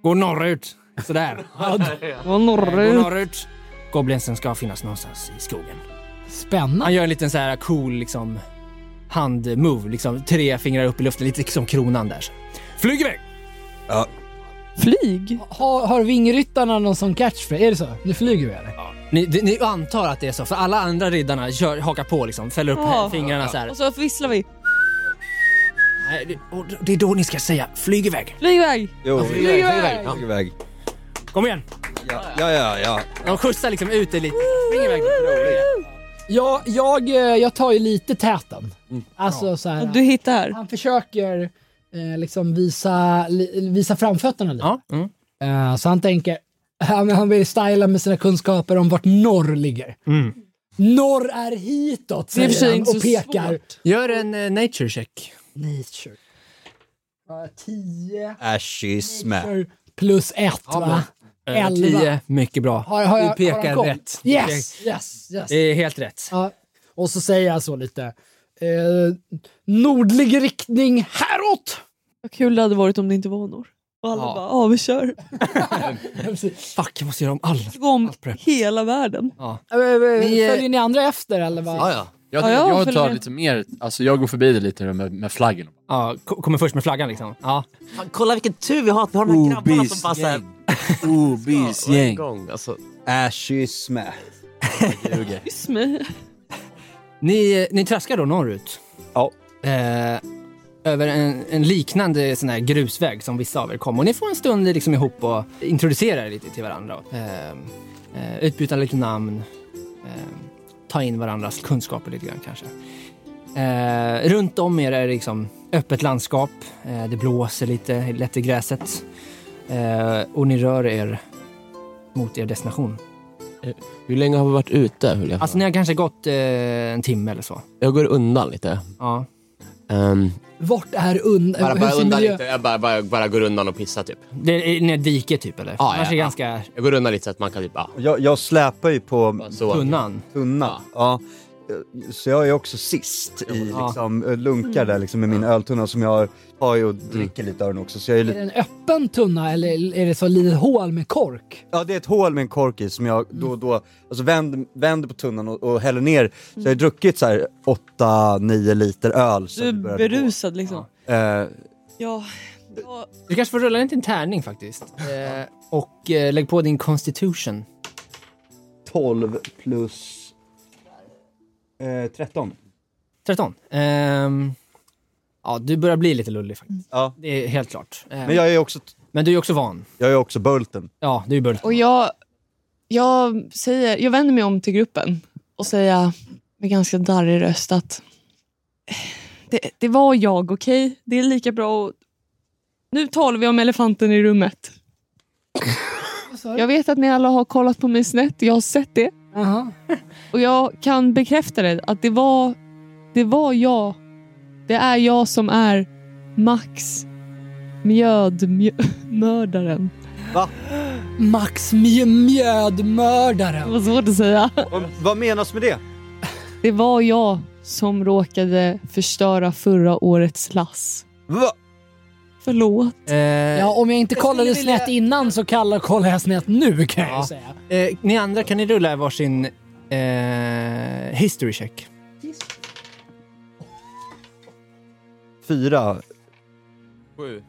gå norrut. Sådär. Vad gå norrut. norrut. Goblinsen ska finnas någonstans i skogen. Spännande. Han gör en liten så här cool liksom handmove, liksom tre fingrar upp i luften, lite som kronan där. Flyg iväg! Ja, Flyg. Har, har vingryttarna någon sån catchphrase? Är det så? Nu flyger vi eller? Ni, ni antar att det är så, för alla andra riddarna kör, hakar på liksom, fäller upp Ja. fingrarna så här. Och så visslar vi. Nej, det, och det är då ni ska säga flyg iväg. Flyg iväg. jo. Flyg iväg. Flyg iväg. Kom igen! Ja, ja, ja. ja. De skjutsar liksom ut er lite. Spring iväg. Ja, jag, eh, jag tar ju lite täten. Mm. Alltså så här, Du hittar. han försöker eh, liksom visa, li, visa framfötterna lite. Ja. Mm. Eh, så han tänker, han, han vill styla med sina kunskaper om vart norr ligger. Mm. Norr är hitåt, Det är i och för säger sig han inte och så pekar. svårt. Gör en eh, nature check. Nature. Ja, 10 Ashisme. Nature plus 1 va? Eh, Elva. tio. Mycket bra. Har, har jag, du har pekar han koll? rätt. Du pekar- Yes, yes, yes. Det Eh. är helt rätt. Ja. Och så säger jag så lite. Eh, nordlig riktning häråt! Vad kul det hade varit om det inte var norr. Och alla Ja. bara, ja vi kör. Fuck, jag måste göra om alla. Typ Gå om Allt prep. hela världen. Ni, Eh. eh, Följer ni andra efter eller? Vad? Ja, ja. Jag, Ja, jag jag, följer tar med. lite mer, alltså jag går förbi det lite med, med flaggen. Ja, ko- kommer först med flaggan liksom. Ja. Fan, kolla vilken tur vi har att vi har de här grabbarna som bara såhär... Obisgäng. Gång, alltså. Ashisme. Kyss mig. Ni, ni traskar då norrut? Ja. Eh, över en, en liknande sån här grusväg som vissa av er kom. Och ni får en stund liksom ihop och introducera er lite till varandra. Eh, eh, utbyta lite namn. Eh, ta in varandras kunskaper lite grann kanske. Eh, runt om er är det liksom öppet landskap. Eh, det blåser lite lätt i gräset. Eh, och ni rör er mot er destination. Hur länge har vi varit ute? Vill jag, Alltså ni har kanske gått eh, en timme eller så. jag går undan lite. Ja. Ehm, Vart är und bara hur bara ser undan miljö- lite. Jag bara, bara, bara går undan och pissar typ. Det är, nej, dike typ eller? Ja, Annars ja, är det ja. ganska Jag går undan lite så att man kan typ... Ah, Jag, jag släpar ju på så. tunnan. tunna. Ja. Så jag är också sist i Ja. liksom, eh, lunkar där liksom, med min öltunna som jag har- har ju och dricker lite av den också. Så jag är Är det lite... en öppen tunna eller är det så litet hål med kork? Ja, det är ett hål med en kork i som jag då och då alltså, vänder, vänder på tunnan och, och häller ner. Så jag har druckit så här 8-9 liter öl. sen Du det är började gå. berusad liksom. Eh, Ja. ja. Du kanske får rulla en liten tärning faktiskt. Eh, och eh, lägg på din constitution. 12 plus eh, 13. 13. Ehm, ja, du börjar bli lite lullig faktiskt. Ja. Det är helt klart. Eh, Men men, jag är också, du är också van. jag är också bulten. Ja, du är bull. Och jag, jag, säger, jag vänder mig om till gruppen och säger med ganska darrig röst att eh, det, det var jag, okej? Det är lika bra att... Nu talar vi om elefanten i rummet. Jag vet att ni alla har kollat på mig snett, jag har sett det. Jaha. Och jag kan bekräfta det, att det var, det var jag. Det är jag som är Max mjödmördaren. Max Mj- Mjödmördaren. Eh, Det var svårt att säga. Och, vad menas med det? Det var jag som råkade förstöra förra årets lass. Va? Förlåt. Eh, Ja, om jag inte kollade skulle vilja- snett innan så kallar, kollar jag snett nu kan jag Ja. ju säga. eh, ni andra, kan ni rulla varsin eh, history check? Fyra. Sju.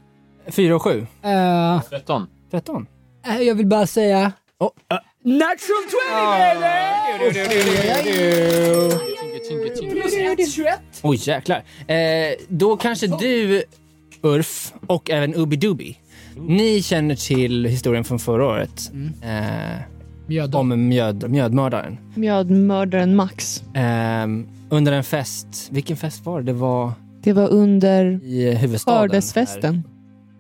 4 och 7. Eh, 13. 13. eh, jag vill bara säga... Oh, eh. Ah. Natural 20 baby! Tinka, tinka, tinka. Plus ett, 21. Oj, jäklar. Eh, då kanske du, Urf, och även Ubbi Dubbi, ni känner till historien från förra året eh, Mjödmördaren. om mjöd, mjödmördaren. Mjödmördaren Max. Eh, under en fest, vilken fest var det? Det var Det var under i huvudstaden. här. skördesfesten.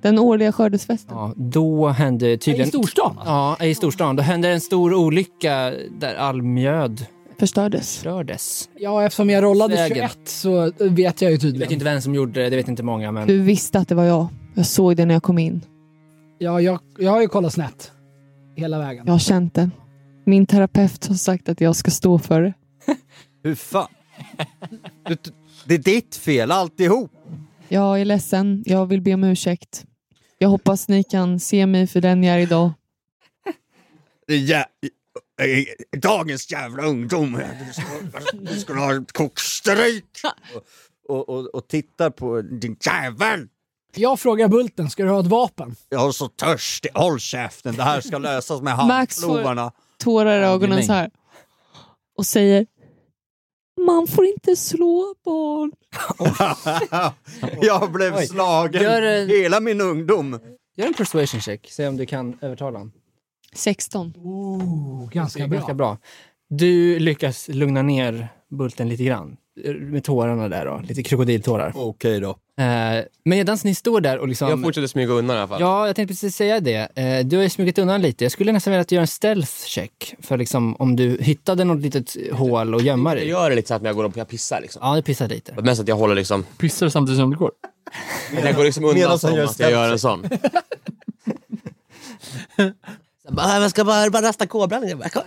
Den årliga skördesfesten. Ja, då hände I tydligen... storstan? alltså. Ja, i storstan. Då hände en stor olycka där all mjöd Förstördes. rördes. Ja, eftersom jag rollade Sägen. 21 så vet jag ju Jag tydligen. vet inte vem som gjorde det, det vet inte många, men... Du visste att det var jag. Jag Jag såg det när jag kom in. Ja, jag, jag har ju kollat snett. Hela vägen. Jag har känt det. Min terapeut har sagt att jag ska stå för det. Hur fan? Du, det är ditt fel alltihop. Jag är ledsen. Jag vill be om ursäkt. Jag hoppas ni kan se mig för den jag är idag. Det är jä- eh, Dagens jävla ungdom. Du skulle ha ett kokstryk. Och, och, och tittar på din jävel. Jag frågar Bulten, ska du ha ett vapen? Jag är så törstig. Håll käften. Det här ska lösas med Max får- handklovarna. Tårar i ögonen nej. så här. Och säger Man får inte slå barn. Jag blev slagen Gör en- hela min ungdom. Gör en persuasion check, se om du kan övertala honom. 16. Oh, Det är ganska bra. ganska bra. Du lyckas lugna ner Bulten lite grann. eh, Med tårarna där då, lite krokodiltårar. Okej då. Eh, medan ni står där och liksom... Jag fortsätter smyga undan i alla fall. Ja, jag tänkte precis säga det. Eh, Du har ju smugit undan lite. Jag skulle nästan vilja att du gör en stealth check. För liksom, om du hittade något litet hål och gömma Jag dig. gör det lite så att när jag går upp och jag pissar liksom. Ja, det pissar lite. Men Mest att jag håller liksom, Pissar du samtidigt som du går? att jag går liksom undan Medan han som gör att jag gör en sån. Sen bara, "Äh, Jag ska bara, bara rasta kobran. Jag bara, "Kom."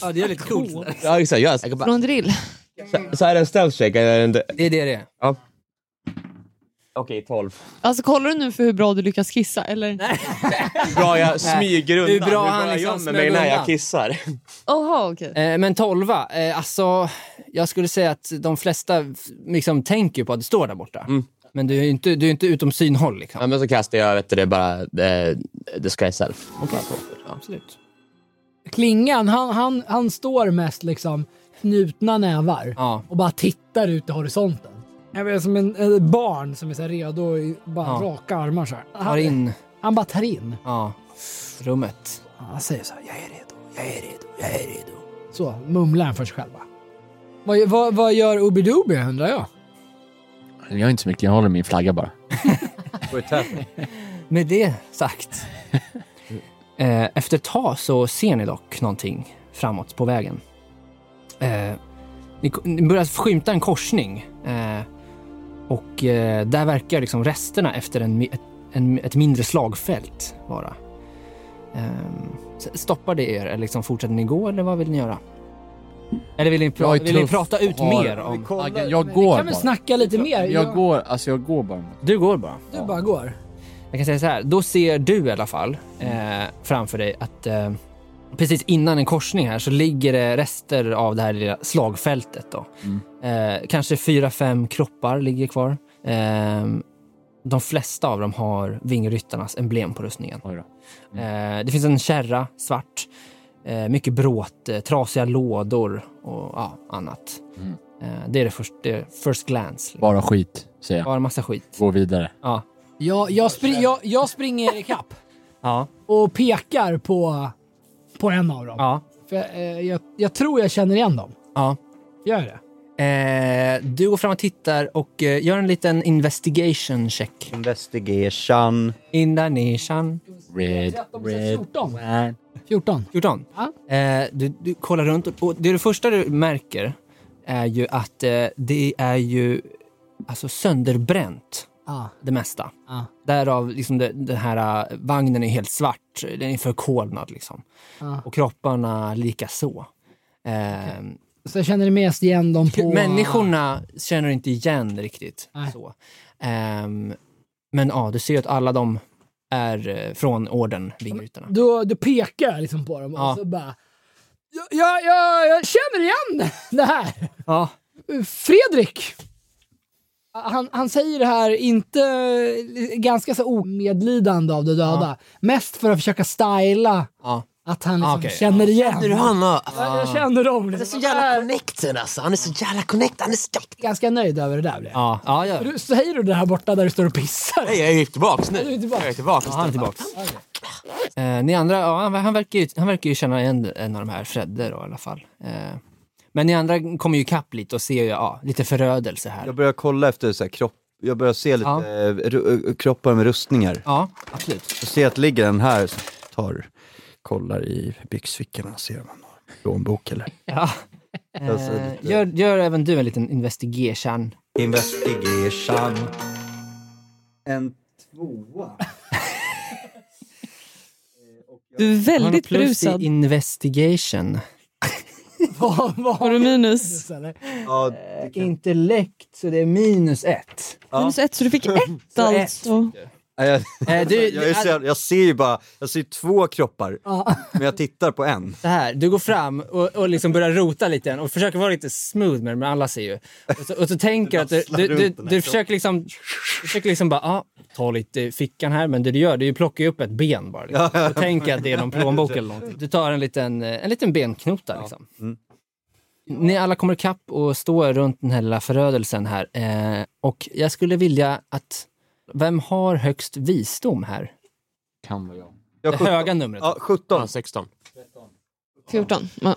Ja, det är lite coolt. Ja, exakt. Jag, jag kan bara, Rondrill. så, så är det en stealth check? eller är det en- Det är det det är. Okej, 12. Alltså kollar du nu för hur bra du lyckas kissa eller? Bra, jag smyger undan. Hur bra han jag liksom gömmer mig smög när jag undan. kissar. Jaha okej. Eh, Men tolva, eh, alltså jag skulle säga att de flesta f- liksom tänker på att du står där borta. Men du är ju inte, du är inte utom synhåll liksom. Ja, men så kastar jag vet du, det är bara eh, the sky self. Absolut. Klingan, han, han, han står mest liksom knutna nävar Ja. och bara tittar ut i horisonten. Jag vet, som en, ett barn som är så här redo i bara Ja. raka armar så här. Tar Han, in han bara tar in. ja, rummet. Han säger så här, jag är redo, jag är redo, jag är redo. Så mumlar han för sig själv. va. Vad, vad, vad gör Ubidubi undrar jag? Jag gör inte så mycket, jag håller min flagga bara. Med det sagt. eh, efter ett tag så ser ni dock någonting framåt på vägen. Eh, ni, ko- ni börjar skymta en korsning. Eh, och eh, där verkar liksom resterna efter en, mi- ett, en, ett mindre slagfält vara. Ehm, s- stoppar det er? Eller liksom fortsätter ni gå eller vad vill ni göra? Eller vill ni, pra- Jag är vill ni tuff prata ut och har- mer om... Flaggan, jag går Kan vi bara. snacka lite mer? Jag går, alltså jag går bara. Du går bara. Du bara går. Jag kan säga så här, då ser du i alla fall eh, framför dig att eh, precis innan en korsning här så ligger det rester av det här lilla slagfältet. Då. Eh, kanske fyra, fem kroppar ligger kvar. Eh, de flesta av dem har vingryttarnas emblem på rustningen. Oj då. Eh, det finns en kärra, svart, eh, mycket bråte, trasiga lådor och ja, annat. Mm. Eh, det är det först, det är first glance. Bara skit, säger jag. Bara massa skit. Gå vidare. Ja. Jag, jag, spring, jag, jag springer i kapp Ja. och pekar på, på en av dem. Ja. För, eh, jag, jag tror jag känner igen dem. Ja. Gör jag det? Eh, du går fram och tittar och eh, gör en liten investigation check. Investigation. Indonesien. Red, 14. red. 14. 14. Ja. Eh, du, du kollar runt och, och det, det första du märker är ju att eh, det är ju alltså sönderbränt Ah, det mesta. ah. Därav liksom det, den här eh, vagnen är helt svart. Den är förkolnad liksom. Ah. Och kropparna lika så. Eh, Så jag känner mest igen dem på... Människorna känner du inte igen riktigt. Nej. Så. Ehm, men ja, du ser ju att alla de är eh, från orden, vingrytarna. Då, då pekar jag liksom på dem Ja. och så bara... Jag, jag, jag, jag känner igen det här! Ja. Fredrik! Han, han säger det här, inte ganska så omedlidande av de döda. Mest för att försöka styla Ja. Ah, att han liksom Okej. känner igen. Hanna? Ja, jag känner dem. Han är Liksom. så jävla connecten alltså. Han är så jävla connected. Han är så Ganska nöjd över det där blev jag. Ja, ja, ja. Du, säger du det här borta där du står och pissar? Nej, jag är tillbaks nu. Du är tillbaka. Jag är tillbaks. Ja, han är tillbaka. Eh, ni andra, ja, han, han, verkar ju, han verkar ju känna igen en av de här, Fredde då, i alla fall. Eh, men ni andra kommer ju ikapp lite och ser ju ja, lite förödelse här. Jag börjar kolla efter så här kropp. Jag börjar se lite Ja. eh, ru- eh, kroppar med rustningar. Ja, absolut. Jag ser att det ligger en här som tar, kollar i byxfickorna, ser om han har plånbok eller. Ja. Jag ser Eh, lite- gör, gör även du en liten investigation. Investigation. En tvåa. Du är Har du väldigt plus i brusad. investigation? Vad vad Har du minus? eller? Eh, Ja, det kan... Intellekt, så det är minus ett. Ja. Minus ett, så du fick ett alltså. Nej, jag, Eh, du, jag, är så, jag ser ju bara, jag ser två kroppar, Ja. men jag tittar på en. så här, du går fram och, och liksom börjar rota lite och försöker vara lite smooth med det, men alla ser ju. Och så, och så tänker du att du, du, du, du försöker liksom, du försöker liksom bara, ah, ta lite i fickan här, men det du gör det är ju plocka upp ett ben bara. Liksom. Och tänker att det är någon plånbok eller någonting. Du tar en liten, eh, en liten benknota liksom. Mm. Ni alla kommer ikapp och står runt den här lilla förödelsen här. Eh, och jag skulle vilja att, vem har högst visdom här? Kan vara jag. Jag Det sjutton- höga numret. Ja, 17. Ja, 16. 14. Ja.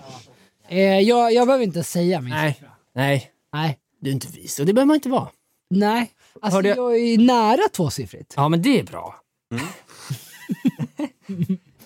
Eh, jag, jag behöver inte säga min Nej, nej, Nej. du är inte vis och det behöver man inte vara. Nej. Alltså, Hörde jag- jag är nära tvåsiffrigt. Ja, men det är bra. Mm.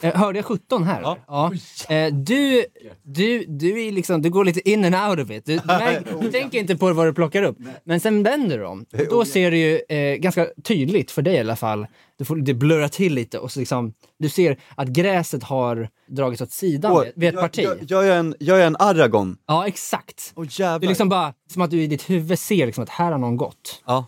Eh, Hörde jag 17 här? Ja. Eh, Du, du, du, är liksom, du går lite in and out of it. Du, du, märker, Oh, du tänker inte på vad du plockar upp. Men sen vänder du om. Och då ser du ju eh, ganska tydligt, för dig i alla fall, du får, det blurrar till lite och så liksom, du ser att gräset har dragits åt sidan Åh, vid- vid ett jag- parti. Jag, jag, är en, jag är en Aragon. Ja, exakt. Åh Det är jävlar. liksom bara som att du i ditt huvud ser liksom att här har någon gått. Ja.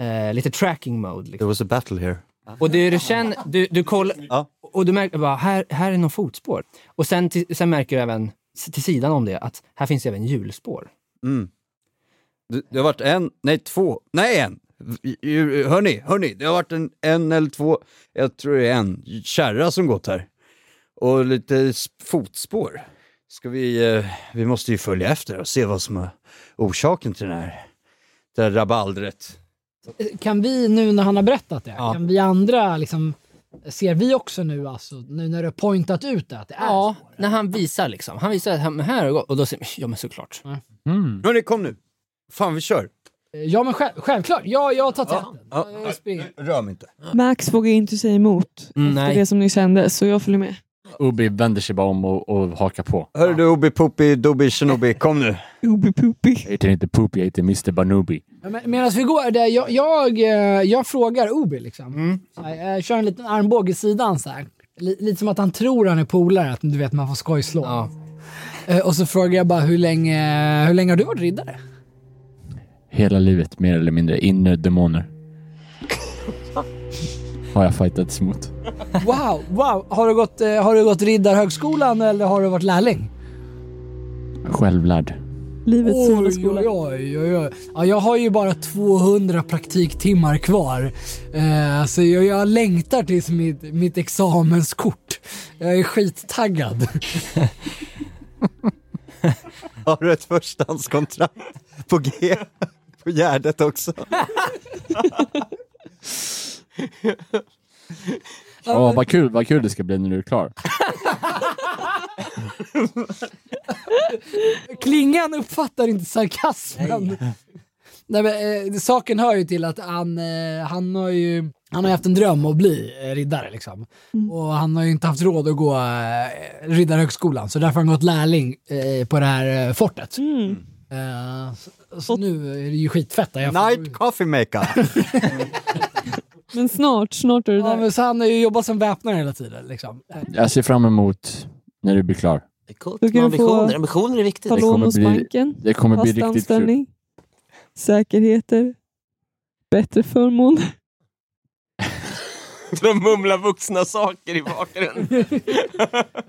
Eh, lite tracking mode. Liksom. There was a battle here. Och det du känner, du, du kollar Ja. och du märker bara, här, här är någon fotspår. Och sen, till, sen märker du även, s- till sidan om det, att här finns även hjulspår. Mm. Det, det har varit en, nej två, nej en! I- i- Hörni, hörni, det har varit en, en eller två, jag tror det är en, kärra som gått här. Och lite s- fotspår. Ska vi, eh, vi måste ju följa efter och se vad som är orsaken till den här, det här rabaldret. Eh, Kan vi, nu när han har berättat det, Ja. kan vi andra liksom, ser vi också nu alltså, nu när du har pointat ut det, att det är Ja, så? när han visar liksom. Han visar att han, här har det gått. Och då säger ja men såklart. Mm. Hörni, kom nu! Fan, vi kör! Eh, Ja men själv, självklart, ja jag tar täten. Ja. Jag springer. Rör mig inte. Max vågar inte säga emot Mm, efter nej. det som nyss hände, så jag följer med. Ubi vänder sig bara om och, och hakar på. Hörru du, Obi Poopy Dobi Shinobi, kom nu! Obi-poopy. Jag heter inte Poopy, jag heter Mr Banubi. Ja, men- Medan vi går där, jag, jag, eh, jag frågar Obi liksom. Så här, Jag, kör en liten armbåge i sidan så här. Li- Lite som att han tror han är polare, att du vet man får skojslå. Ja. Eh, Och så frågar jag bara hur länge, hur länge har du varit riddare? Hela livet, mer eller mindre, inre demoner. Har jag fightats mot. Wow, wow! Har du gått, eh, har du gått riddarhögskolan eller har du varit lärling? Självlärd. Livets Oj, söndagsskola. oj, oj, oj, oj. Ja, jag har ju bara 200 praktiktimmar kvar. Eh, så jag, jag längtar tills mitt, mitt examenskort. Jag är skittaggad. Har du ett förstahandskontrakt på G? På Gärdet också. Åh, vad kul, vad kul det ska bli när du är klar. Klingan uppfattar inte sarkasmen. Nej, men, eh, saken hör ju till att han, eh, han har ju han har ju haft en dröm att bli eh, riddare liksom. Mm. Och han har ju inte haft råd att gå eh, riddarhögskolan så därför har han gått lärling eh, på det här eh, fortet. Mm. Eh, så, så nu är det ju skitfett. Jag får- Night Coffee Maker! Men snart, snart är du Ja, där. men så han har ju jobbat som väpnare hela tiden. Liksom. Eh, Jag ser fram emot när du blir klar. Det är coolt Du kan med få- ambitioner. Ambitioner är viktigt. Ta det lån kommer hos bli- banken, Det kommer bli fast riktigt kul. anställning, säkerheter, bättre förmån. De mumlar vuxna saker i bakgrunden.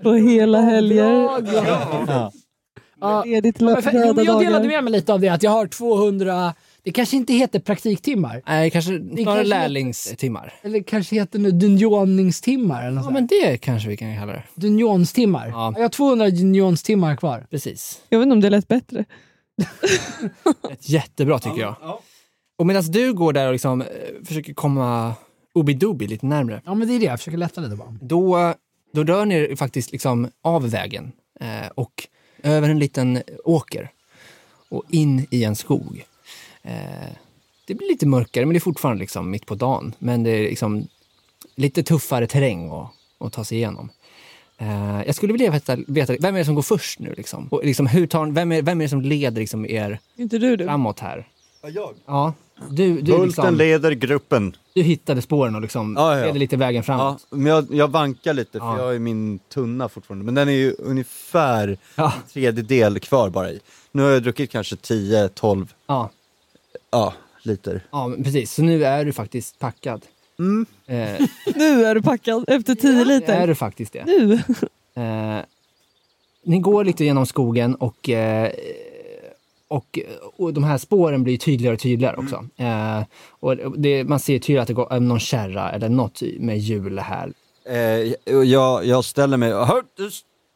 på hela helger. Bra, bra. Ja. Ja. Ledigt långa Men för- jo, men Jag delade dagar. med mig lite av det att jag har 200, det kanske inte heter praktiktimmar, Nej, kanske kanske- snarare lärlingstimmar. eller kanske heter det dunjoningstimmar eller något Ja, sånt. men det kanske vi kan kalla det. Dunjonstimmar. Ja. Jag har 200 dunjonstimmar kvar. Precis. Jag vet inte om det lät bättre. Ett jättebra tycker jag. Och medan du går där och liksom, eh, försöker komma Obidobi lite närmre, Ja, men det är det. Jag försöker lätta lite bara. då, då rör ni er faktiskt liksom av vägen eh, och över en liten åker och in i en skog. Eh, det blir lite mörkare, men det är fortfarande liksom mitt på dagen. Men det är liksom lite tuffare terräng att, att ta sig igenom. Eh, jag skulle vilja veta, veta, vem är det som går först nu? Liksom? Och liksom, hur tar, vem, är, vem är det som leder liksom er Inte du du. framåt här? jag? Ja, du, du, Bulten liksom, leder gruppen. du hittade spåren och liksom Ja, ja, ja. ledde lite vägen Ja, framåt. men jag, jag vankar lite för Ja. jag är min tunna fortfarande. Men den är ju ungefär Ja. en tredjedel kvar bara i. Nu har jag druckit kanske 10-12 Ja, ja, liter. ja, men precis. Så nu är du faktiskt packad. Mm. Eh, Nu är du packad efter tio är liter. du faktiskt det. Nu. Eh, ni går lite genom skogen och, eh, och, och de här spåren blir tydligare och tydligare också. Eh, och det, man ser tydligt att det går eh, någon kärra eller något med hjul här. Eh, och jag, jag ställer mig... Hör, du,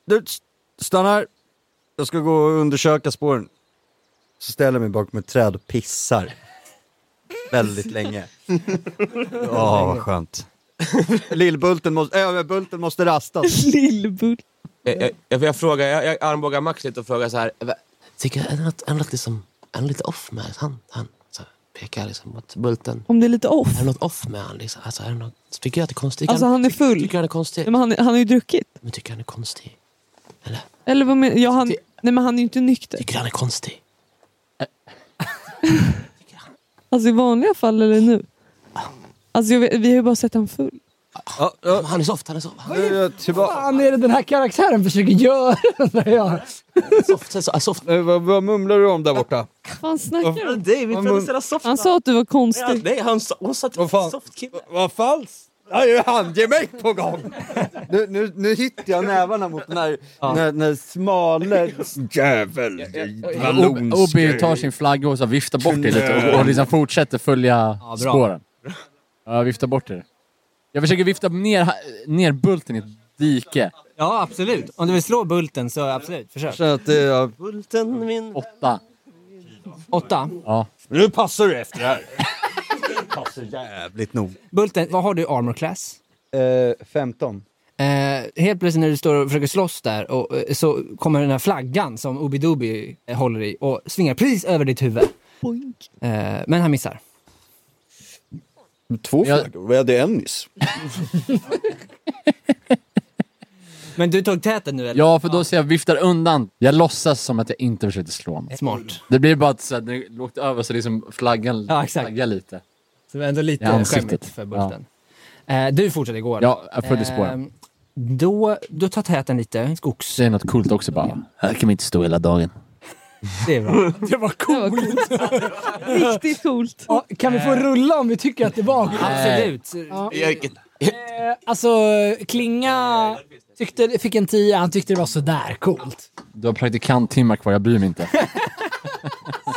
du, stanna här! Jag ska gå och undersöka spåren. Så ställer jag mig bakom ett träd och pissar. Väldigt länge. Ja, vad skönt. Lillbulten måste, äh, bulten måste rastas. Lillbull. Jag, jag, jag, jag, frågar, jag, jag armbågar Max lite och frågar så här. "Va- Tycker jag, är han något, är han något, liksom, är han lite off med han? han så här, pekar liksom mot Bulten. Om det är lite off. Är det något off med han? Liksom? Alltså, är det något, tycker jag att det är konstigt? Alltså han är full. Tycker han är konstig? Nej, Men han, han har ju druckit. Men tycker han är konstig? Eller vad menar jag? Han, nej men han är ju inte nykter. Tycker han är konstig? Alltså i vanliga fall eller nu? Alltså jag vet, vi har ju bara sett han full. Ja, ja, Han är soft, han är soft. nu är jag tillbaka. fan är det den här karaktären försöker göra? undrar jag. soft, soft, soft. Eh, vad, vad mumlar du om där borta? Fan snackar du om? Nej, vi pratar sådär soft. Han sa att du var Ja, konstig. nej, han sa, hon sa att Vad fan? soft kille. Vad falskt! Ja, ju handgemäng på gång! Nu, nu, nu hittar jag nävarna mot den här, den här, den här smale... Jävel! Obi tar sin flagga och så viftar bort det lite och, och liksom fortsätter följa spåren. Ja, viftar bort det. Jag försöker vifta ner, ner bulten i ett dike. Ja, absolut. Om du vill slå bulten så absolut, försök. Så att, eh, ja. Bulten min... Åtta. Åtta. Ja. Nu passar du efter det här! passar jävligt nog. Bulten, vad har du i armor class? Eh, 15. Eh, helt plötsligt när du står och försöker slåss där och, eh, så kommer den här flaggan som Obidobi eh, håller i och svingar precis över ditt huvud. Eh, men han missar. Två Jag- flaggor? Vi hade en nyss. Men du tog täten nu eller? ja, för då ser jag viftar undan. Jag låtsas som att jag inte försökte slå honom. Smart. Det blir bara att så här, när det lågt över så liksom flaggan Ja, exakt. flaggar lite. Så det var ändå lite I ansiktet. skämmigt för bulten. Eh, du fortsätter gå. eller? Ja, jag följer spåren. Eh, då, då tar täten lite. Skogs... Säger något coolt också bara. Här kan vi inte stå hela dagen. Det är bra. Det var coolt. Riktigt coolt. Ja, Kan vi få Eh. rulla om vi tycker att det var Absolut. Eh, Alltså, Klinga tyckte, fick en 10, han tyckte det var sådär coolt. Du har praktikanttimmar kvar, jag bryr mig inte.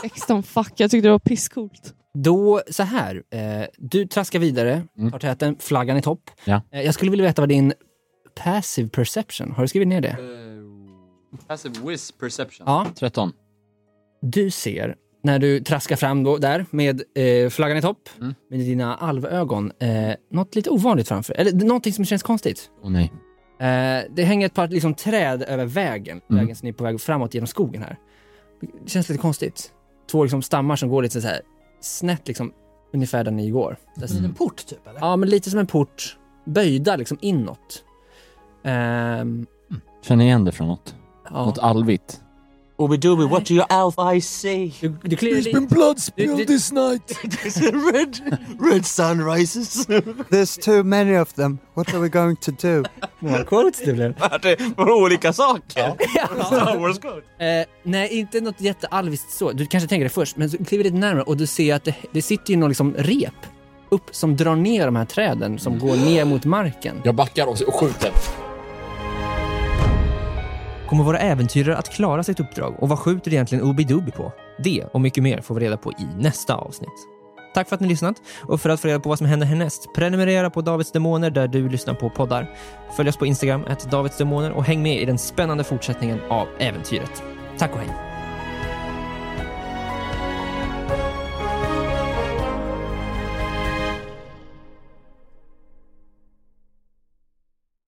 16 fuck, jag tyckte det var pisscoolt. Då, så här. Eh, du traskar vidare, Mm. tar täten, flaggan i topp. Ja. Eh, jag skulle vilja veta vad din passive perception, har du skrivit ner det? Passive whiz perception. Ja. 13. Du ser, när du traskar fram då, där med eh, flaggan i topp, Mm. med dina alvögon, eh, något lite ovanligt framför Eller någonting som känns konstigt. Åh nej. Eh, det hänger ett par liksom, träd över vägen, Mm. vägen som är på väg framåt genom skogen här. Det känns lite konstigt. Två liksom, stammar som går lite så här snett, liksom, ungefär där ni går. Där Mm. En port typ eller? Ja, men lite som en port, böjda liksom inåt. Ehm, Känner igen det från något. ja. Något alvigt. Obidobi, what do your elf eyes say? Du, du kliar lite- blood spilled Du- du- this night! red, red sun rises. There's too many of them. What are we going to do? På olika saker. Star Wars code. Eh, nej, inte något jättealviskt så. Du kanske tänker det först, men så kliver du lite närmare och du ser att det, det sitter ju någon liksom rep upp som drar ner de här träden som Mm. går ner mot marken. Jag backar och och skjuter. Kommer våra äventyrare att klara sitt uppdrag och vad skjuter egentligen Obidubi på? Det och mycket mer får vi reda på i nästa avsnitt. Tack för att ni lyssnat och för att få reda på vad som händer härnäst, prenumerera på Davids Demoner där du lyssnar på poddar. Följ oss på Instagram, Davids Demoner och häng med i den spännande fortsättningen av äventyret. Tack och hej!